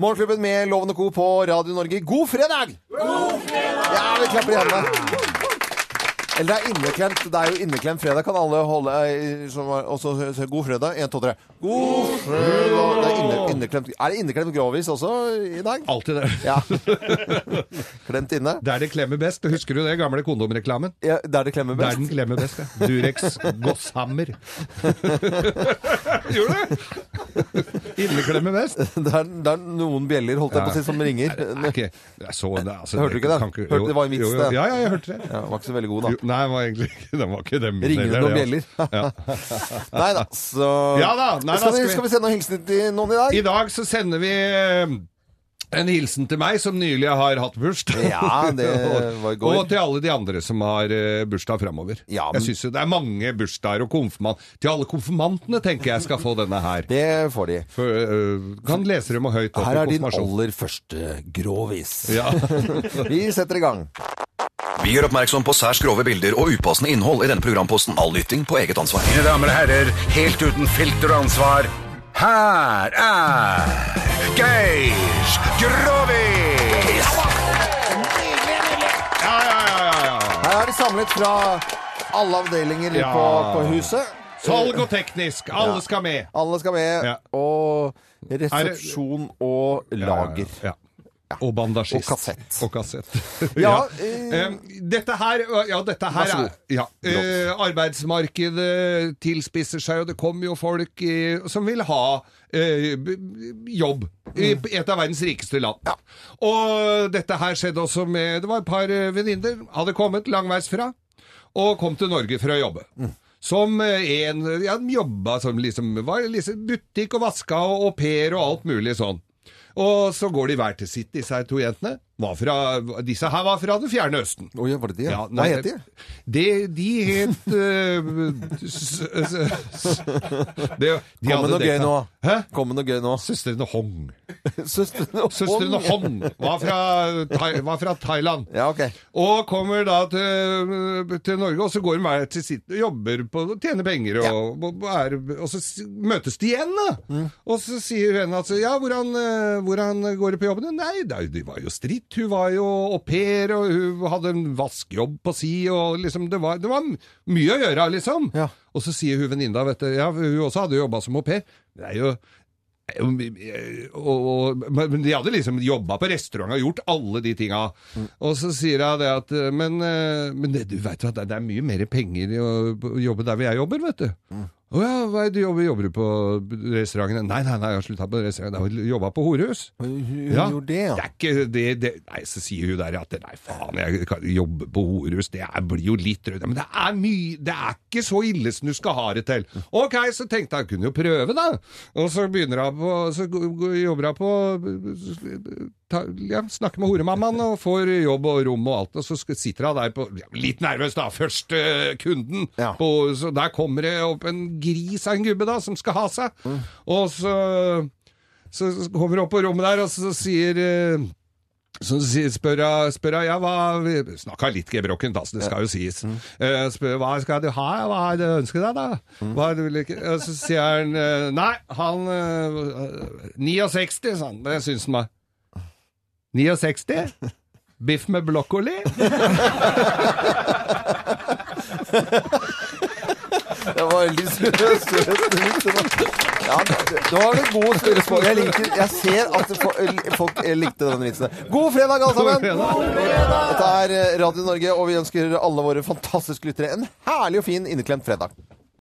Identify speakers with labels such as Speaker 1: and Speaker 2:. Speaker 1: Morgenklubben med Loven og Co. på Radio Norge. God fredag! Ja, vi klapper i hendene. Eller det er inneklemt. Det er jo inneklemt fredag. Kan alle holde eh, som var- også, så- God fredag. Én, to, tre. God fredag. Det er, inne, inneklemt. er det inneklemt grovis også i dag?
Speaker 2: Alltid det.
Speaker 1: Ja. Klemt inne.
Speaker 2: Der det klemmer best. Husker du det gamle kondomreklamen?
Speaker 1: Ja, der det klemmer
Speaker 2: Der
Speaker 1: best.
Speaker 2: den klemmer best, ja. Durex Gosshammer. Gjorde du det? Inneklemmer best.
Speaker 1: Det er, det er noen bjeller, holdt jeg på å si, som ringer.
Speaker 2: Nei, det er ikke- det er så, det, er- altså,
Speaker 1: Hørte du ikke den?
Speaker 2: kan jo-
Speaker 1: Hørte det var en vits,
Speaker 2: jo, jo.
Speaker 1: det.
Speaker 2: Ja, ja, jeg hørte det.
Speaker 1: Ja, var ikke så veldig god,
Speaker 2: Jo,
Speaker 1: da.
Speaker 2: nei, det var egentlig ikke, den var ikke dem.
Speaker 1: Ringer det noen
Speaker 2: det,
Speaker 1: bjeller?
Speaker 2: altså. Ja.
Speaker 1: Nei da, så
Speaker 2: Ja da, nei da,
Speaker 1: skal,
Speaker 2: skal
Speaker 1: vi,
Speaker 2: vi-
Speaker 1: skal vi sende noen hilsener til noen i dag?
Speaker 2: I dag så sender vi eh, en hilsen til meg som nylig har hatt bursdag.
Speaker 1: Ja, det var i går.
Speaker 2: Og til alle de andre som har eh, bursdag framover.
Speaker 1: Ja, men-
Speaker 2: Jeg syns jo det er mange bursdager og konfirmant. Til alle konfirmantene tenker jeg skal få denne her.
Speaker 1: Det får de.
Speaker 2: For, eh, kan lese dem og høyt opp
Speaker 1: Her
Speaker 2: i
Speaker 1: er din
Speaker 2: konfirmasjon.
Speaker 1: aller første grovis.
Speaker 2: Ja.
Speaker 1: Vi setter i gang.
Speaker 3: Vi gjør oppmerksom på særs grove bilder og upassende innhold i denne programposten. All lytting på eget ansvar.
Speaker 4: Mine damer og herrer, helt uten filter og ansvar, her er Geir Grovis!
Speaker 2: Ja, ja, ja, ja, ja.
Speaker 1: Her er det samlet fra alle avdelinger
Speaker 2: Ja.
Speaker 1: på, på huset.
Speaker 2: Salg og teknisk, alle
Speaker 1: Ja.
Speaker 2: skal med.
Speaker 1: Alle skal med.
Speaker 2: Ja.
Speaker 1: Og resepsjon og lager.
Speaker 2: Ja, ja, ja. Og bandasjist.
Speaker 1: Og kassett.
Speaker 2: Og kassett.
Speaker 1: Ja, eh,
Speaker 2: Eh, dette her, ja, dette
Speaker 1: Vær
Speaker 2: her
Speaker 1: så god.
Speaker 2: er ja, eh, Arbeidsmarkedet tilspisser seg, og det kommer jo folk i, som vil ha eh, b- b- jobb i p- et av verdens rikeste land. Og dette her skjedde også med Det var et par eh, venninner. Hadde kommet langveisfra og kom til Norge for å jobbe. Som eh, en ja, de Jobba som liksom var liksom butikk og vaska og au pair og alt mulig sånn. Og så går de hver til sitt, disse her to jentene. Var fra, disse her var fra det fjerne Østen.
Speaker 1: Oi, var det de? Ja,
Speaker 2: Ja,
Speaker 1: Hva
Speaker 2: nei,
Speaker 1: heter de?
Speaker 2: Det, de het eh, s- s- s- det, de
Speaker 1: Kom med
Speaker 2: hadde
Speaker 1: noe gøy
Speaker 2: dekka-
Speaker 1: nå.
Speaker 2: Hæ?
Speaker 1: Kom med noe gøy nå.
Speaker 2: Søstrene Hong.
Speaker 1: Søstrene Hong.
Speaker 2: Søstrene Hong var fra, Thai, var fra Thailand.
Speaker 1: Ja, ok.
Speaker 2: Og kommer da til, til Norge, og så går de hver til sitt og jobber på og tjener penger. Og, og, er, og så s- møtes de igjen, da. Og så sier hun at ja, hvordan, eh, hvordan går det på jobben? Nei, det, er jo- de var jo stritt. Hun var jo au pair, og hun hadde en vaskejobb på si, og liksom det var, det var m- mye å gjøre, liksom.
Speaker 1: Ja.
Speaker 2: Og så sier hun venninna, vet du, ja, hun også hadde jobba som au pair. Det er jo Eh, og, og, men de hadde liksom jobba på restaurant og gjort alle de tinga. Og så sier jeg det at Men, eh, men det, du veit at det det er mye mer penger i å å jobbe der hvor jeg jobber, vet du. Å ja, hva er det du jobber, jobber du på restauranten? Nei, nei, nei, jeg har slutta på restauranten. Jeg har jobba på horehus.
Speaker 1: Hun
Speaker 2: Ja.
Speaker 1: gjorde det, ja.
Speaker 2: Det er ikke det, det Nei, så sier hun der at nei, faen, jeg kan jobbe på horehus, det er, blir jo litt rødt. Men det er mye Det er ikke så ille som du skal ha det til. Ok, så tenkte jeg, kunne jo prøve, da. Og så begynner hun på Så g- g- jobber hun på ta, ja, Snakker med horemammaen og får jobb og rom og alt, og så sk- sitter hun der på ja, Litt nervøs, da. Første eh, kunden.
Speaker 1: Ja.
Speaker 2: På, så der kommer det opp en gris av en gubbe, da, som skal ha seg. Og så så kommer hun opp på rommet der, og så sier eh, så sier- spør jeg, spør jeg ja, hva Snakka litt gebrokkent, altså, det skal jo sies. Eh, Spør hva skal du ha, ja, hva er det du ønsker deg, da? Hva er det du vil ikke? Og så sier han eh, nei, han eh, 69, sa han. Det syns han var. 69? Biff med blokkoli?
Speaker 1: Det var veldig seriøst. Ja, nå var det god spørsmål. Jeg, liker, jeg ser at fo- folk eh, likte denne vitsen. God fredag, alle sammen! eh,
Speaker 2: God fredag.
Speaker 1: Dette er Radio Norge, og vi ønsker alle våre fantastiske lyttere en herlig og fin inneklemt fredag.